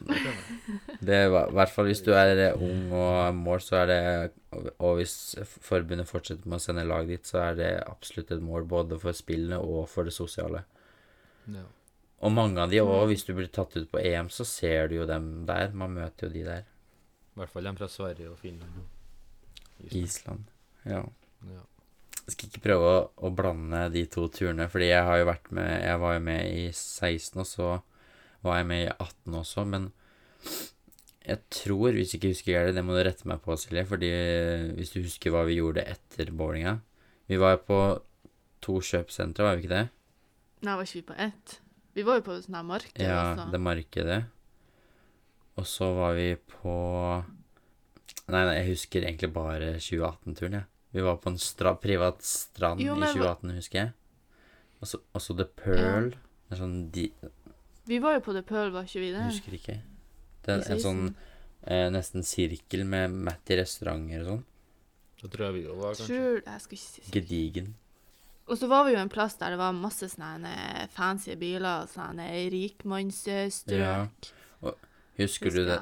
S3: det var i hvert fall hvis du er eh, ung og har mål, så er det Og hvis forbundet fortsetter med å sende lag dit, så er det absolutt et mål både for spillene og for det sosiale.
S2: Ja.
S3: Og mange av de òg, hvis du blir tatt ut på EM, så ser du jo dem der. Man møter jo de der.
S2: I hvert fall de fra Sverige og Finland. og Island.
S3: Island. Ja.
S2: Ja.
S3: Jeg skal ikke prøve å, å blande de to turene, fordi jeg har jo vært med Jeg var jo med i 16, og så var jeg med i 18 også, men jeg tror, hvis jeg ikke husker galt, det må du rette meg på, Silje, fordi eh, hvis du husker hva vi gjorde etter bowlinga Vi var jo på to kjøpesentre, var vi ikke det?
S1: Nei, var ikke vi på ett? Vi var jo på sånn her marked.
S3: Ja,
S1: altså.
S3: det markedet. Og så var vi på Nei, nei, jeg husker egentlig bare 2018-turen, jeg. Vi var på en stra privat strand
S1: Jo, men
S3: i
S1: hva-
S3: 2018, husker jeg. Og så- og så The Pearl. En sånn di...
S1: Vi var jo på The Pearl, var ikke vi
S3: Jeg
S1: det?
S3: husker ikke. Det er
S1: I
S3: en sånn
S1: Sydney.
S3: eh, nesten sirkel med matt i restauranter og sånn.
S2: Det tror jeg vi òg var, kanskje.
S1: Sure, jeg skal ikke si
S3: Gedigen.
S1: Og så var vi jo en plass der det var masse sånne eh, fancy biler, sånne eh, rikmannsstrøk.
S3: Ja. Husker du
S1: Husker
S3: det,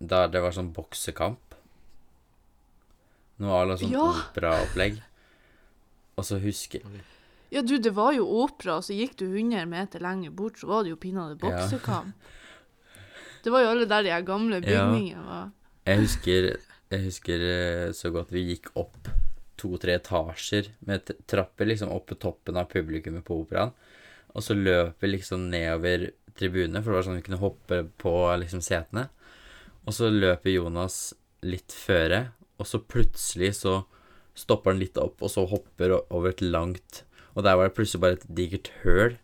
S3: da det var sånn boksekamp? Noe à la sånn
S1: Ja.
S3: operaopplegg. Og så husker
S1: Ja, du, det var jo opera, og så gikk du 100 meter lenger bort, så var det jo pinadø
S3: Ja.
S1: boksekamp. Det var jo alle der de her gamle
S3: Ja.
S1: bygningene var.
S3: Jeg husker, jeg husker eh, så godt vi gikk opp to-tre etasjer med t- trapper liksom opp på toppen av publikummet på operaen. Og så løp vi liksom nedover tribunene, for det var sånn vi kunne hoppe på liksom setene. Og så løper Jonas litt føre, og så plutselig så stopper han litt opp, og så hopper o- over et langt Og der var det plutselig bare et digert høl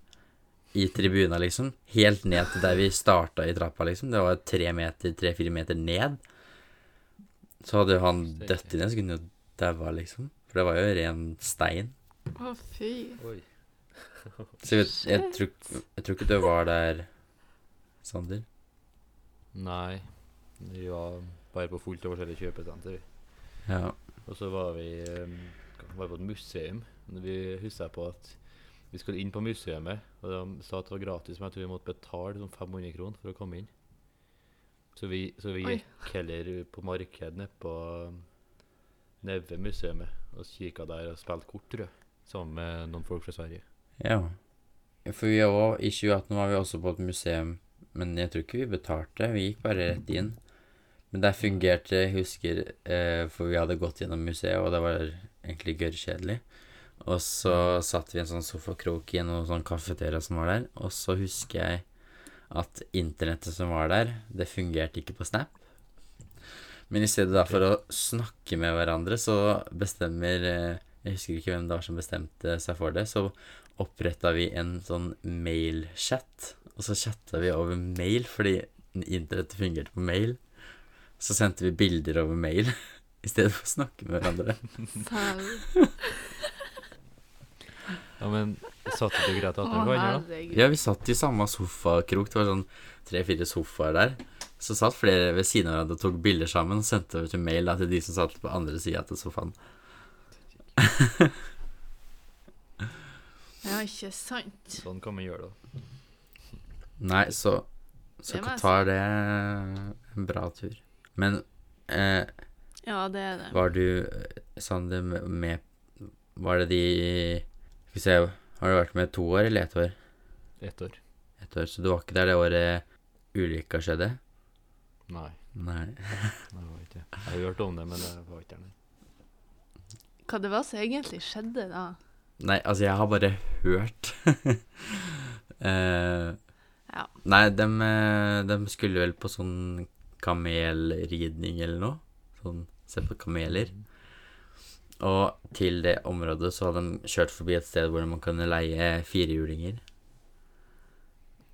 S3: i tribuna, liksom. Helt ned til der vi starta i trappa, liksom. Det var tre meter, tre-fire meter ned. Så hadde jo han dødd i den, så kunne han jo daua, liksom. For det var jo ren stein.
S1: Å, fy.
S2: Oi.
S3: Så jeg, vet- jeg, tror, jeg tror ikke du var der, Sander.
S2: Nei. Vi var bare på fullt av forskjellige kjøpesenter. vi.
S3: Ja.
S2: Og så var vi um, var på et museum. Men Vi husker på at vi skulle inn på museet, og de sa at det var gratis, men jeg tror vi måtte betale sånn 500 kroner for å komme inn. Så vi, så vi
S1: Oi.
S2: gikk heller på markedet nede på um, nede ved museet og kikka der og spilte kort, tror jeg. Sammen med noen folk fra Sverige.
S3: ja. For vi òg, i 2018 var vi også på et museum, men jeg tror ikke vi betalte. Vi gikk bare rett inn. Men der fungerte, jeg husker, eh, for vi hadde gått gjennom museet, og det var egentlig gørrkjedelig. Og så satt vi i en sånn sofakrok i noen sånn kafeteria som var der, og så husker jeg at internettet som var der, det fungerte ikke på Snap. Men i stedet da for å snakke med hverandre, så bestemmer eh, Jeg husker ikke hvem det var som bestemte seg for det. Så oppretta vi en sånn mailchat, og så chatta vi over mail fordi internettet fungerte på mail. Så sendte vi bilder over mail i stedet for å snakke med hverandre.
S1: Sau.
S2: Ja, men satt du greit
S1: Å,
S2: at dere var inne, da?
S1: herregud.
S3: Ja, vi satt i samme sofakrok. Det var sånn tre-fire sofaer der. Så satt flere ved siden av hverandre og tok bilder sammen og sendte over til mail da, til de som satt på andre sida av sofaen.
S1: Ja, ikke sant.
S2: Sånn kan man gjøre det. da.
S3: Nei, så, så
S1: Det må jeg si.
S3: Qatar, det er en bra tur. Men eh,
S1: Ja, det er det.
S3: var du, eh, Sander, med Var det de Skal vi se Har du vært med to år eller ett år?
S2: Ett år.
S3: Ett år, Så du var ikke der det året ulykka skjedde?
S2: Nei,
S3: Nei.
S2: det var ikke Jeg har hørt om det, men jeg var ikke der. nei.
S1: Hva det var som egentlig skjedde da?
S3: Nei, altså, jeg har bare hørt. eh,
S1: Ja.
S3: Nei, dem, eh, dem skulle vel på sånn kamelridning eller noe. Sånn se på kameler. Og til det området så hadde de kjørt forbi et sted hvor man kunne leie firehjulinger.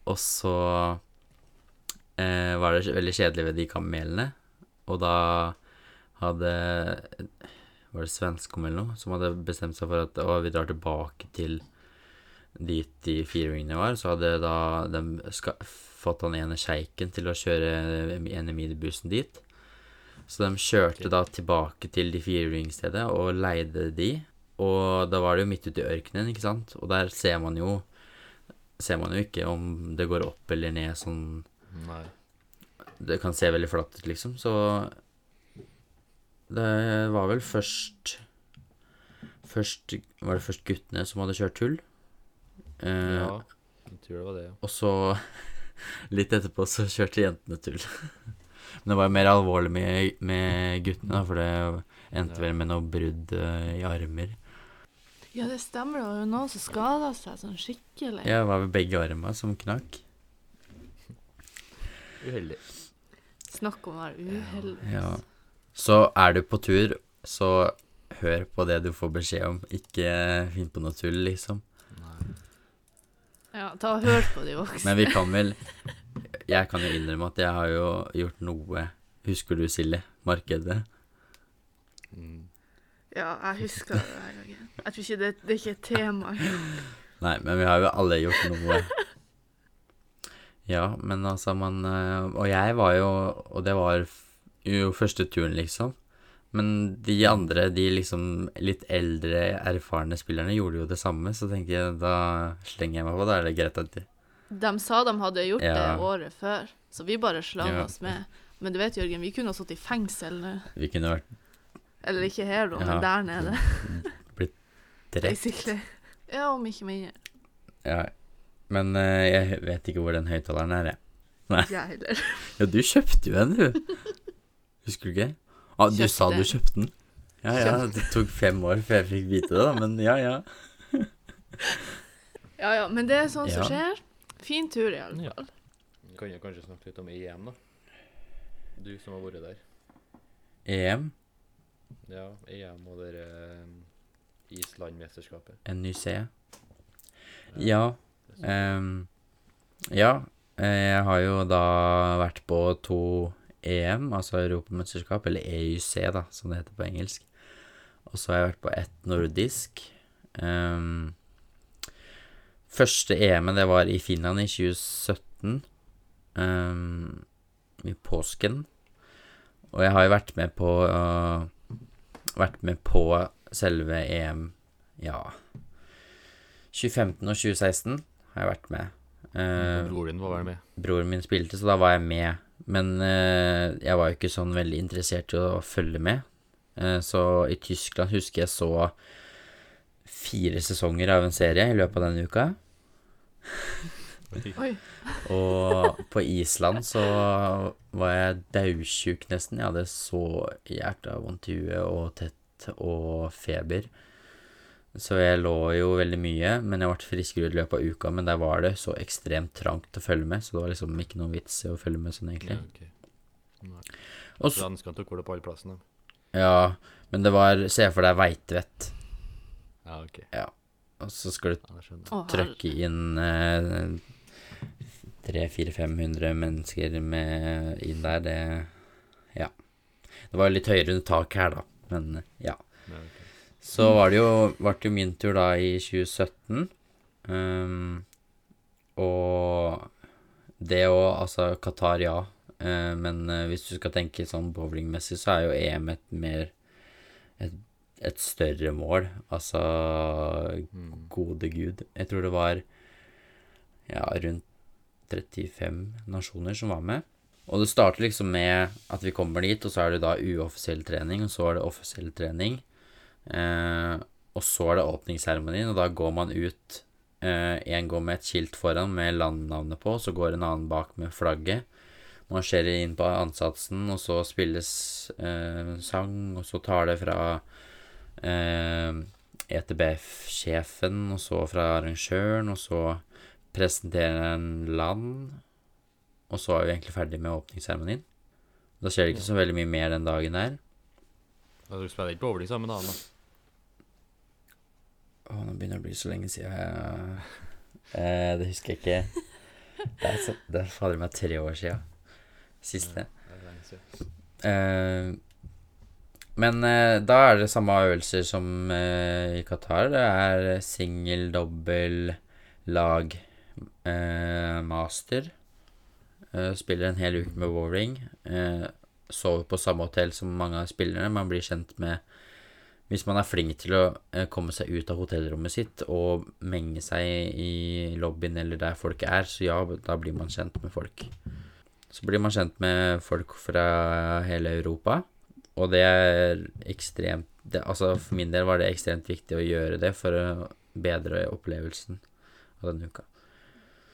S3: Og så eh, var det veldig kjedelig ved de kamelene. Og da hadde var det svenskom eller noe, som hadde bestemt seg for at å, vi drar tilbake til dit de fire ringene var. Så hadde da de ska fått han ene sjeiken til å kjøre ene minibussen dit. Så de kjørte da tilbake til de fire ringstedet og leide de. Og da var det jo midt ute i ørkenen, ikke sant? Og der ser man jo Ser man jo ikke om det går opp eller ned sånn
S2: Nei.
S3: det kan se veldig flatt ut, liksom. Så det var vel først Først var det først guttene som hadde kjørt hull. Eh,
S2: Ja, jeg tror det var det, ja.
S3: Og så litt etterpå så kjørte jentene tull. Men det var jo mer alvorlig med, med guttene, da, for det endte vel med noe brudd eh, i armer.
S1: Ja, det stemmer. Det var jo noen som skada seg sånn skikkelig.
S3: Ja, det var vel begge arma som knakk.
S2: Uheldig.
S1: Snakk om å være uheldig.
S3: Ja. Så er du på tur, så hør på det du får beskjed om. Ikke eh, finn på noe tull, liksom.
S2: Nei.
S1: Ja, ta og hør på de voksne.
S3: Men vi kan vel Jeg kan jo innrømme at jeg har jo gjort noe Husker du, Silje? Markedet?
S2: Mm.
S1: Ja, jeg husker det denne gangen. Jeg tror ikke det, det er ikke et tema.
S3: Nei, men vi har jo alle gjort noe. Ja, men altså man eh, Og jeg var jo Og det var f- jo første turen, liksom. Men de andre, de liksom litt eldre, erfarne spillerne, gjorde jo det samme, så tenker jeg da slenger jeg meg på. Da er det greit at de
S1: De sa de hadde gjort
S3: Ja.
S1: det året før, så vi bare slang
S3: Ja.
S1: oss med. Men du vet, Jørgen, vi kunne ha sittet i fengsel nå.
S3: Vi kunne vært
S1: Eller ikke her, da,
S3: Ja.
S1: men der nede.
S3: drept.
S1: Basically. Ja, om ikke mindre.
S3: Ja. Men eh, jeg vet ikke hvor den høyttaleren er, jeg.
S1: Jeg heller.
S3: Ja, du kjøpte jo en, du. Husker du ikke? Ah, du sa du
S1: Kjøpte.
S3: kjøpte den. Ja, ja, det tok fem år før jeg fikk vite det, da, men ja, ja.
S1: Ja ja, men det er sånt som
S3: Ja.
S1: skjer. Fin tur, i alle
S2: Ja.
S1: fall.
S2: Kan jo kanskje snakke litt om EM, da. Du som har vært der.
S3: EM,
S2: Ja, EM og det eh, Island-mesterskapet.
S3: NYC. Ja. ehm, ja, eh, jeg har jo da vært på to EM, altså Europamesterskap, eller EUC, da, som det heter på engelsk. Og så har jeg vært på ett nordisk. Ehm, første EM-et, det var i Finland i 2017. ehm, I påsken. Og jeg har jo vært med på øh, Vært med på selve EM, ja 2015 og 2016 har jeg vært med. Eh,
S2: Broren din var vel med?
S3: broren min spilte, så da var jeg med. Men eh, jeg var jo ikke sånn veldig interessert i å følge med. Eh, så i Tyskland husker jeg så fire sesonger av en serie i løpet av den uka.
S1: Oi.
S3: Og på Island så var jeg daudsjuk nesten. Jeg hadde så hjertet vondt i huet og tett og feber. Så jeg lå jo veldig mye, men jeg ble friskere i løpet av uka. Men der var det så ekstremt trangt å følge med, så det var liksom ikke noen vits i å følge med sånn, egentlig.
S2: Ja, ok. Nei.
S3: Og så,
S2: Svenskene tok vel opp all plassen, da.
S3: ja, men det var Se for deg Veitvet,
S2: Ja, OK.
S3: og så skal du
S2: Ja, jeg skjønner.
S1: Å, herre.
S3: trøkke inn eh, 300-400-500 mennesker med inn der, det Ja. Det var litt høyere under taket her, da, men eh, ja.
S2: Ja, ok.
S3: Så var det jo, ble det jo min tur da i 2017. ehm, og det òg, altså Qatar, ja. eh, men eh, hvis du skal tenke sånn bowlingmessig, så er jo EM et mer et, et større mål. Altså
S2: Mm.
S3: gode gud. Jeg tror det var ja, rundt 35 nasjoner som var med. Og det starter liksom med at vi kommer dit, og så er det da uoffisiell trening, og så er det offisiell trening. Eh, og så er det åpningsseremonien, og da går man ut. Én går med et skilt foran med landnavnet på, og så går en annen bak med flagget. Marsjerer inn på ansatsen, og så spilles eh, sang, og så tar det fra eh, ETBF-sjefen, og så fra arrangøren, og så presenterer en land, og så er vi egentlig ferdig med åpningsseremonien. Da skjer det ikke så veldig mye mer den dagen der.
S2: Ja, Dere spiller ikke bowling sammen, da? da.
S3: Å, nå begynner det å bli så lenge siden jeg eh, Det husker jeg ikke. Det er, så, det er fader meg tre år siden. Siste.
S2: Det er lenge siden.
S3: Eh, men eh, da er det samme øvelser som eh, i Qatar. Det er singel, dobbel, lag, eh, master. Eh, spiller en hel uke med bowling. Eh, sover på samme hotell som mange av spillerne. Man blir kjent med Hvis man er flink til å eh, komme seg ut av hotellrommet sitt og menge seg i lobbyen eller der folk er, så ja, da blir man kjent med folk. Så blir man kjent med folk fra hele Europa, og det er ekstremt det, Altså for min del var det ekstremt viktig å gjøre det for å bedre opplevelsen av denne uka.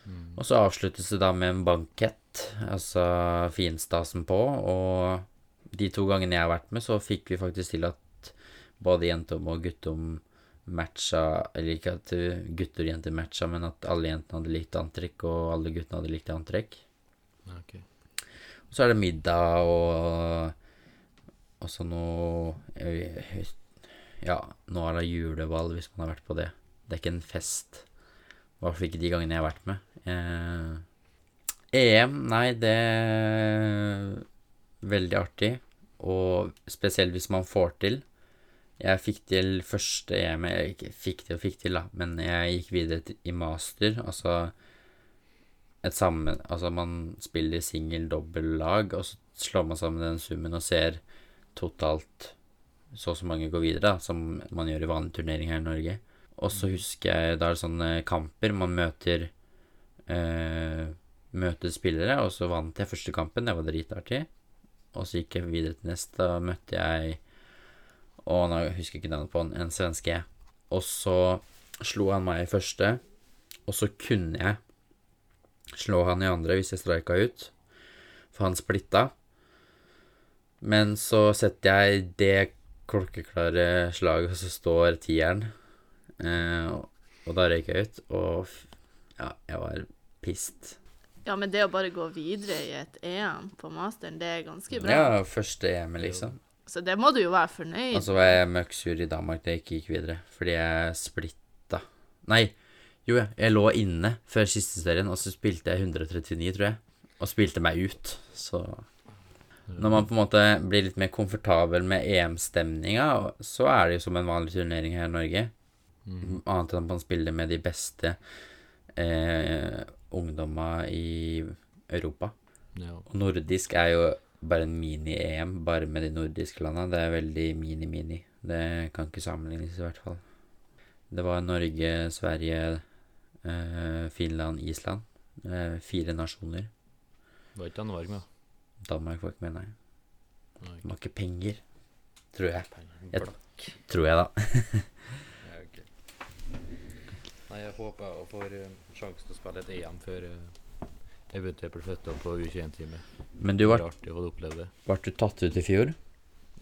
S2: Mm.
S3: Og så avsluttes det da med en bankett, altså finstasen på, og de to gangene jeg har vært med, så fikk vi faktisk til at både jentom og guttom matcha, eller ikke at uh, gutter og jenter matcha, men at alle jentene hadde likt antrekk, og alle guttene hadde likt antrekk.
S2: Ja, ok.
S3: Og så er det middag og også noe jeg vet- Ja, nå er det juleball hvis man har vært på det. Det er ikke en fest. I hvert fall ikke de gangene jeg har vært med. Eh, EM, nei, det er veldig artig. Og spesielt hvis man får til. Jeg fikk til første EM Jeg ikke fikk til og fikk til, da, men jeg gikk videre til, i master, altså et sammen Altså man spiller singel, dobbel lag, og så slår man sammen den summen og ser totalt så og så mange går videre, da, som man gjør i vanlig turnering her i Norge. Og så husker jeg da er det sånne kamper man møter eh, Møter spillere, og så vant jeg første kampen, det var dritartig. Og så gikk jeg videre til neste, da møtte jeg og nå husker jeg ikke navnet på han, en svenske. Og så slo han meg i første, og så kunne jeg slå han i andre hvis jeg streika ut, for han splitta. Men så setter jeg det klokkeklare slaget, og så står tieren. Eh, og- og da røyk jeg ut, og f- ja, jeg var pissed.
S1: Ja, men det å bare gå videre i et EM på masteren, det er ganske bra.
S3: Ja, første EM, liksom.
S1: Så det må du jo være fornøyd
S3: Og så var jeg møkk sur i Danmark da jeg ikke gikk videre, fordi jeg splitta Nei, jo, jeg, jeg lå inne før siste serien, og så spilte jeg 139, tror jeg, og spilte meg ut, så Når man på en måte blir litt mer komfortabel med EM-stemninga, så er det jo som en vanlig turnering her i Norge, annet enn at man spiller med de beste eh, ungdomma i Europa.
S2: Ja.
S3: Og nordisk er jo bare en mini-EM, bare med de nordiske landa. Det er veldig mini-mini. Det kan ikke sammenlignes, i hvert fall. Det var Norge, Sverige, eh, Finland, Island. Eh, fire nasjoner.
S2: Var ikke Danmark med?
S3: Danmark var ikke med, nei.
S2: Nei,
S3: De har ikke penger, tror jeg.
S2: ikke
S3: Jeg-
S2: penger.
S3: Tror jeg, da.
S2: Ja, ok. Nei, jeg håper jeg får eh, sjansen til å spille et EM før eh, jeg begynte på flytta på U21-time.
S3: Men du
S2: Det
S3: var,
S2: var artig å få oppleve det.
S3: var du tatt ut i fjor?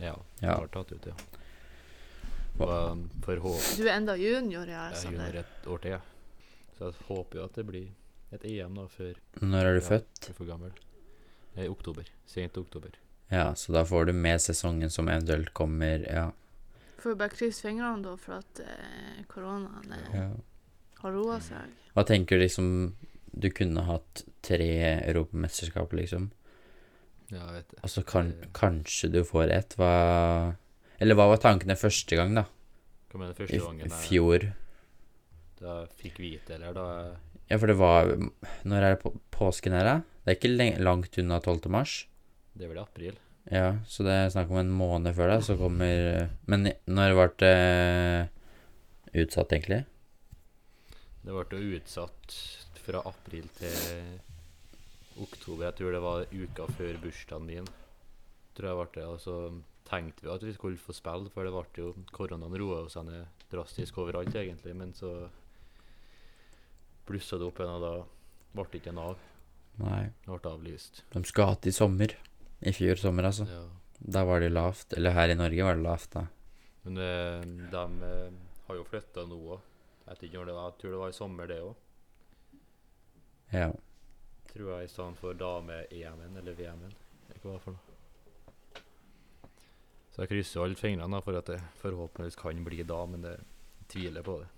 S2: Ja,
S3: Ja.
S2: jeg var tatt ut, ja. Og um, for hå-
S1: Du er enda junior, ja.
S2: jeg er
S1: Sander.
S2: junior et år til, jeg. Så jeg håper jo at det blir et EM da før jeg
S3: Når er du
S2: Ja.
S3: født?
S2: er for gammel. Eh, I oktober. Sent oktober.
S3: Ja, så da får du med sesongen som eventuelt kommer, ja.
S1: Får bare krysse fingrene da for at eh, koronaen eh,
S3: ja.
S1: har roa seg.
S3: Hva tenker du liksom Du kunne hatt tre europamesterskap, liksom.
S2: Ja, jeg vet det.
S3: Altså, kan,
S2: Det-
S3: kanskje du får ett. Hva Eller hva var tankene første gang, da?
S2: Hva mener du
S3: I
S2: første gangen
S3: f-
S2: jeg,
S3: fjor?
S2: da jeg fikk vite, eller da jeg
S3: Ja, for det var Når er det på, påsken her, da? Det er ikke leng- langt unna 12. mars.
S2: Det er vel i april?
S3: Ja, så det er snakk om en måned før, da, så kommer Men i- når ble det utsatt, egentlig?
S2: Det ble jo utsatt fra april til oktober. Jeg tror det var uka før bursdagen min. Tror jeg ble det, og så tenkte vi at vi skulle få spille, for det ble jo koronaen roa jo seg ned drastisk overalt, egentlig. Men så blussa det opp igjen, og da ble det ikke en av.
S3: Nei.
S2: Det ble avlyst.
S3: De skulle hatt i sommer. I fjor sommer, altså.
S2: Ja.
S3: Da var det lavt. Eller her i Norge var det lavt, da.
S2: Men eh, de eh, har jo flytta nå òg. Jeg vet ikke når det var, jeg tror det var i sommer, det òg.
S3: Ja.
S2: Tror jeg i stedet for dame-EM-en eller VM-en. Jeg vet ikke hva det er for noe. Så jeg krysser alle fingrene da, for at det forhåpentligvis kan bli da, men det tviler jeg på det.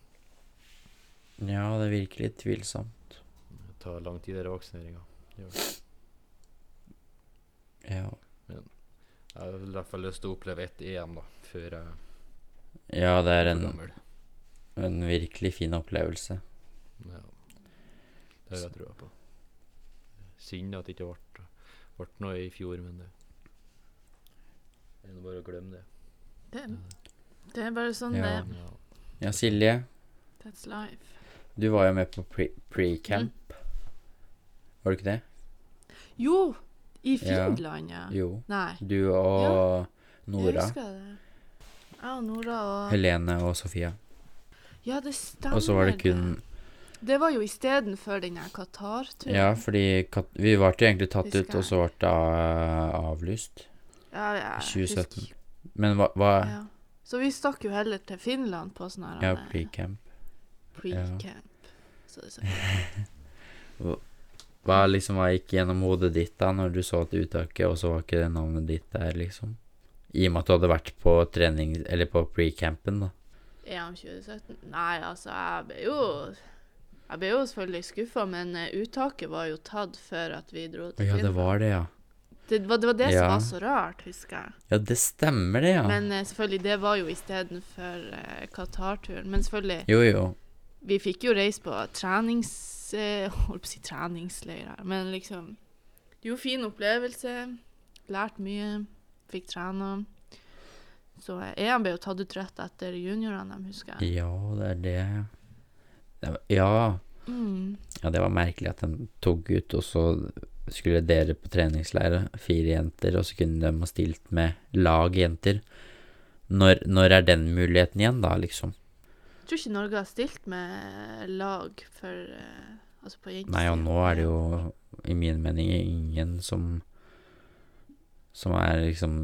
S3: ja, det virker litt tvilsomt.
S2: Det tar lang tid, denne vaksineringa.
S3: Ja.
S2: Jeg har i hvert fall lyst til å oppleve et EM, da, før jeg
S3: ja, det er
S2: blir
S3: en,
S2: gammel.
S3: en virkelig fin opplevelse.
S2: Ja. Det har jeg trua på. Synd at det ikke ble, ble noe i fjor, men det Det er nå bare å glemme det.
S1: Det, det er bare sånn
S3: Ja.
S1: det
S2: Ja.
S3: Ja, Silje,
S1: That's life.
S3: du var jo med på pre- pre-camp.
S1: Mm.
S3: Var du ikke det?
S1: Jo, i
S3: Ja.
S1: Finland, ja.
S3: Jo.
S1: Nei,
S3: Du og
S1: jeg
S3: Nora.
S1: husker det. Jeg og Nora og
S3: Helene og Sofia.
S1: Ja, det stemmer.
S3: Og så var det kun
S1: Det var jo istedenfor den her Qatar-turen.
S3: Ja, fordi kat vi ble jo egentlig tatt
S1: Husker
S3: ut, og så ble det eh, avlyst.
S1: Ja, ja, jeg
S3: 2017.
S1: husker-
S3: Men hva, hva
S1: Ja. Så vi stakk jo heller til Finland på sånn her
S3: Ja,
S1: eh,
S3: pre-camp.
S1: pre-camp. Så det så-
S3: Hva liksom hva gikk gjennom hodet ditt da når du så at uttaket, og så var ikke det navnet ditt der, liksom? I og med at du hadde vært på trening, eller på pre-campen, da.
S1: EM 2017? Nei, altså, jeg ble jo Jeg ble jo selvfølgelig skuffa, men eh, uttaket var jo tatt før at vi dro
S3: Å
S1: til
S3: ja, det
S1: Finland.
S3: var det, ja.
S1: Det, Det var det, var det
S3: Ja.
S1: som var så rart, husker jeg.
S3: Ja, det stemmer det, ja.
S1: Men eh, selvfølgelig, det var jo istedenfor eh, Qatar-turen. Men selvfølgelig,
S3: Jo, jo.
S1: vi fikk jo reise på trenings... Eh, holdt på å si treningsleir her, men liksom Det er jo fin opplevelse. Lært mye. Fikk trena. Så eh, EM ble jo tatt ut rett etter juniorene, de husker jeg.
S3: Ja, det er det. det var, ja.
S1: Mm.
S3: ja, det var merkelig at de tok ut, og så skulle dere på treningsleire, fire jenter, og så kunne de ha stilt med lag jenter. Når, når er den muligheten igjen, da, liksom?
S1: Jeg tror ikke Norge har stilt med lag for eh, Altså på jentesiden.
S3: Nei, og nå er det jo, i min mening, ingen som Som er liksom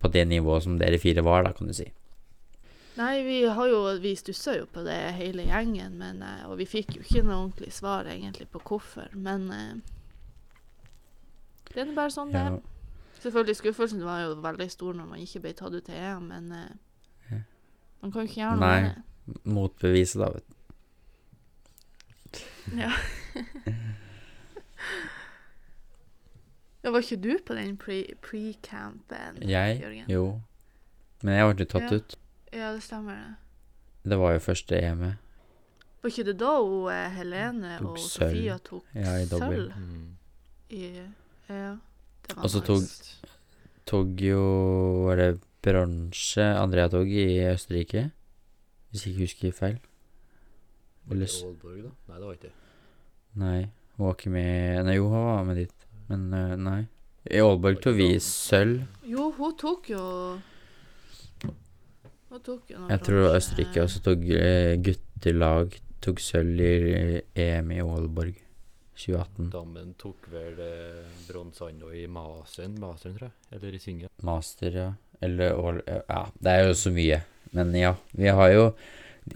S3: på det nivået som dere fire var, da, kan du si.
S1: Nei, vi har jo Vi stussa jo på det hele gjengen, men, eh, og vi fikk jo ikke noe ordentlig svar egentlig på hvorfor, men eh, Det er nå bare sånn det
S3: Ja,
S1: er. Selvfølgelig skuffelsen var jo veldig stor når man ikke ble tatt ut til EM, men eh,
S3: Ja.
S1: man kan jo ikke gjøre noe
S3: Nei.
S1: med det.
S3: Motbeviset, da, vet du.
S1: Ja, var ikke du på den pre- pre-campen,
S3: Jeg?
S1: Jørgen?
S3: Jo. Men jeg ble tatt
S1: Ja.
S3: ut.
S1: Ja, det stemmer det.
S3: Det var jo første EM-et.
S1: Var ikke det da hun, eh, Helene
S3: Tok
S1: og
S3: sølv.
S1: Sofia tok
S3: Ja, i dobbel.
S1: sølv?
S2: Mm.
S1: I, ja, det var
S3: Og så
S1: nice.
S3: tok- tok jo Var det bronse Andrea tok i Østerrike? Hvis jeg ikke husker feil.
S2: Var det
S3: Lyst-
S2: Aalborg, da? Nei, det var ikke det.
S3: Nei, hun var ikke med Nei, jo, hun var med dit, men eh, nei. I Aalborg tok vi sølv.
S1: Jo, hun tok jo Hun tok jo noe
S3: Jeg tror det var
S1: bransje-
S3: Østerrike også tok eh, guttelag tok sølv i eh, EM i Aalborg 2018.
S2: Dammen tok vel eh, bronsanda i Masøen, Masøen, tror jeg. Eller i Sinja.
S3: Master, ja. Eller Aal- Ja, det er jo så mye. Men ja, vi har jo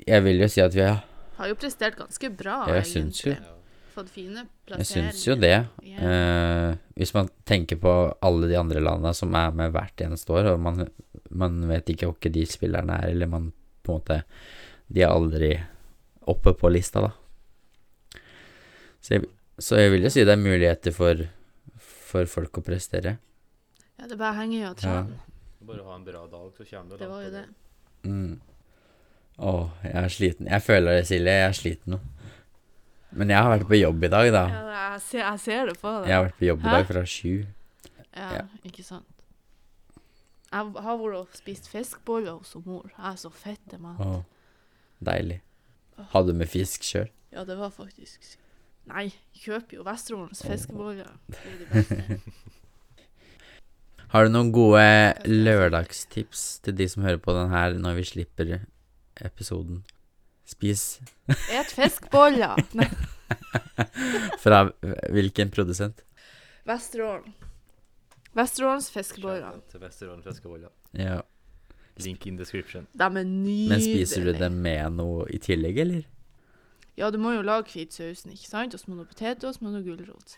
S3: Jeg vil jo si at vi har
S1: Har jo prestert ganske bra,
S3: Jeg syns jo-
S1: egentlig. Fått fine
S3: Jeg
S1: plasseringer.
S3: syns jo det.
S1: Ja.
S3: Eh, hvis man tenker på alle de andre landene som er med hvert eneste år, og man, man vet ikke hvor ikke de spillerne er, eller man på en måte De er aldri oppe på lista, da. Så jeg, så jeg vil jo si det er muligheter for, for folk å prestere.
S1: ja, det bare henger jo og trener.
S2: Bare ha en bra dag, så kommer du
S1: Det
S2: langt
S1: var
S2: på
S1: jo det.
S3: Mm. Å, jeg er sliten. Jeg føler det, Silje. Jeg er sliten nå. Men jeg har vært på jobb i dag, da.
S1: Ja, jeg, ser, jeg ser det på
S3: Jeg
S1: deg.
S3: har vært på jobb i
S1: Hæ?
S3: dag fra sju.
S1: Ja,
S3: ja.
S1: ikke sant. Jeg har vært og spist fiskboller hos mor. Jeg er så fette mat.
S3: Å, deilig. Hadde med fisk sjøl.
S1: Ja, det var faktisk Nei, kjøper jo Vesterålens fiskeboller. Det er de beste.
S3: Har du noen gode lørdagstips til de som hører på den her når vi slipper episoden? Spis
S1: Et fiskboller! Nei,
S3: fra hvilken produsent?
S1: Vesterålen. Vesterålens fiskeboller.
S2: Shout-out til Vesterålen Fiskevoll, ja.
S3: Ja.
S2: Link in description.
S1: De er nydelige.
S3: Men spiser du dem med noe i tillegg, eller?
S1: Ja, du må jo lage hvitsausen, ikke sant? Og så må du ha potet, og så må du ha gulrot.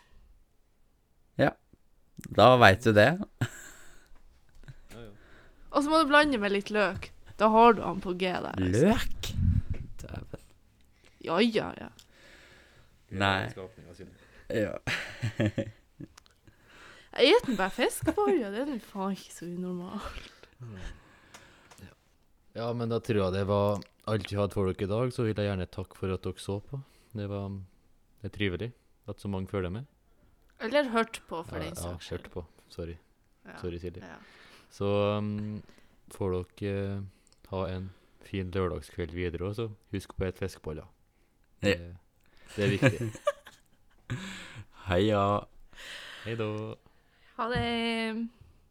S3: Da veit du det.
S2: Ja, ja.
S1: Og så må du blande med litt løk. Da har du han på G der. altså.
S3: Løk? Dæven.
S1: Ja, ja, ja.
S3: Nei.
S2: Skapninga sine.
S3: Ja.
S1: Jeg spiser bare fiskeboller. Det er nå faen ikke så unormalt.
S2: Ja, men da tror jeg det var alt vi hadde for dere i dag. Så vil jeg gjerne takke for at dere så på. Det var det er trivelig at så mange følger med.
S1: Eller hørt på, for
S2: ja,
S1: den
S2: ja,
S1: saks
S2: kjørt på. Sorry.
S1: Ja,
S2: Sorry, Silje.
S1: ja.
S2: Så um, får dere eh, ha en fin lørdagskveld videre, og så husk på et fiskeboller. Det, det er viktig.
S3: Heia.
S2: Hei da.
S1: Ha det.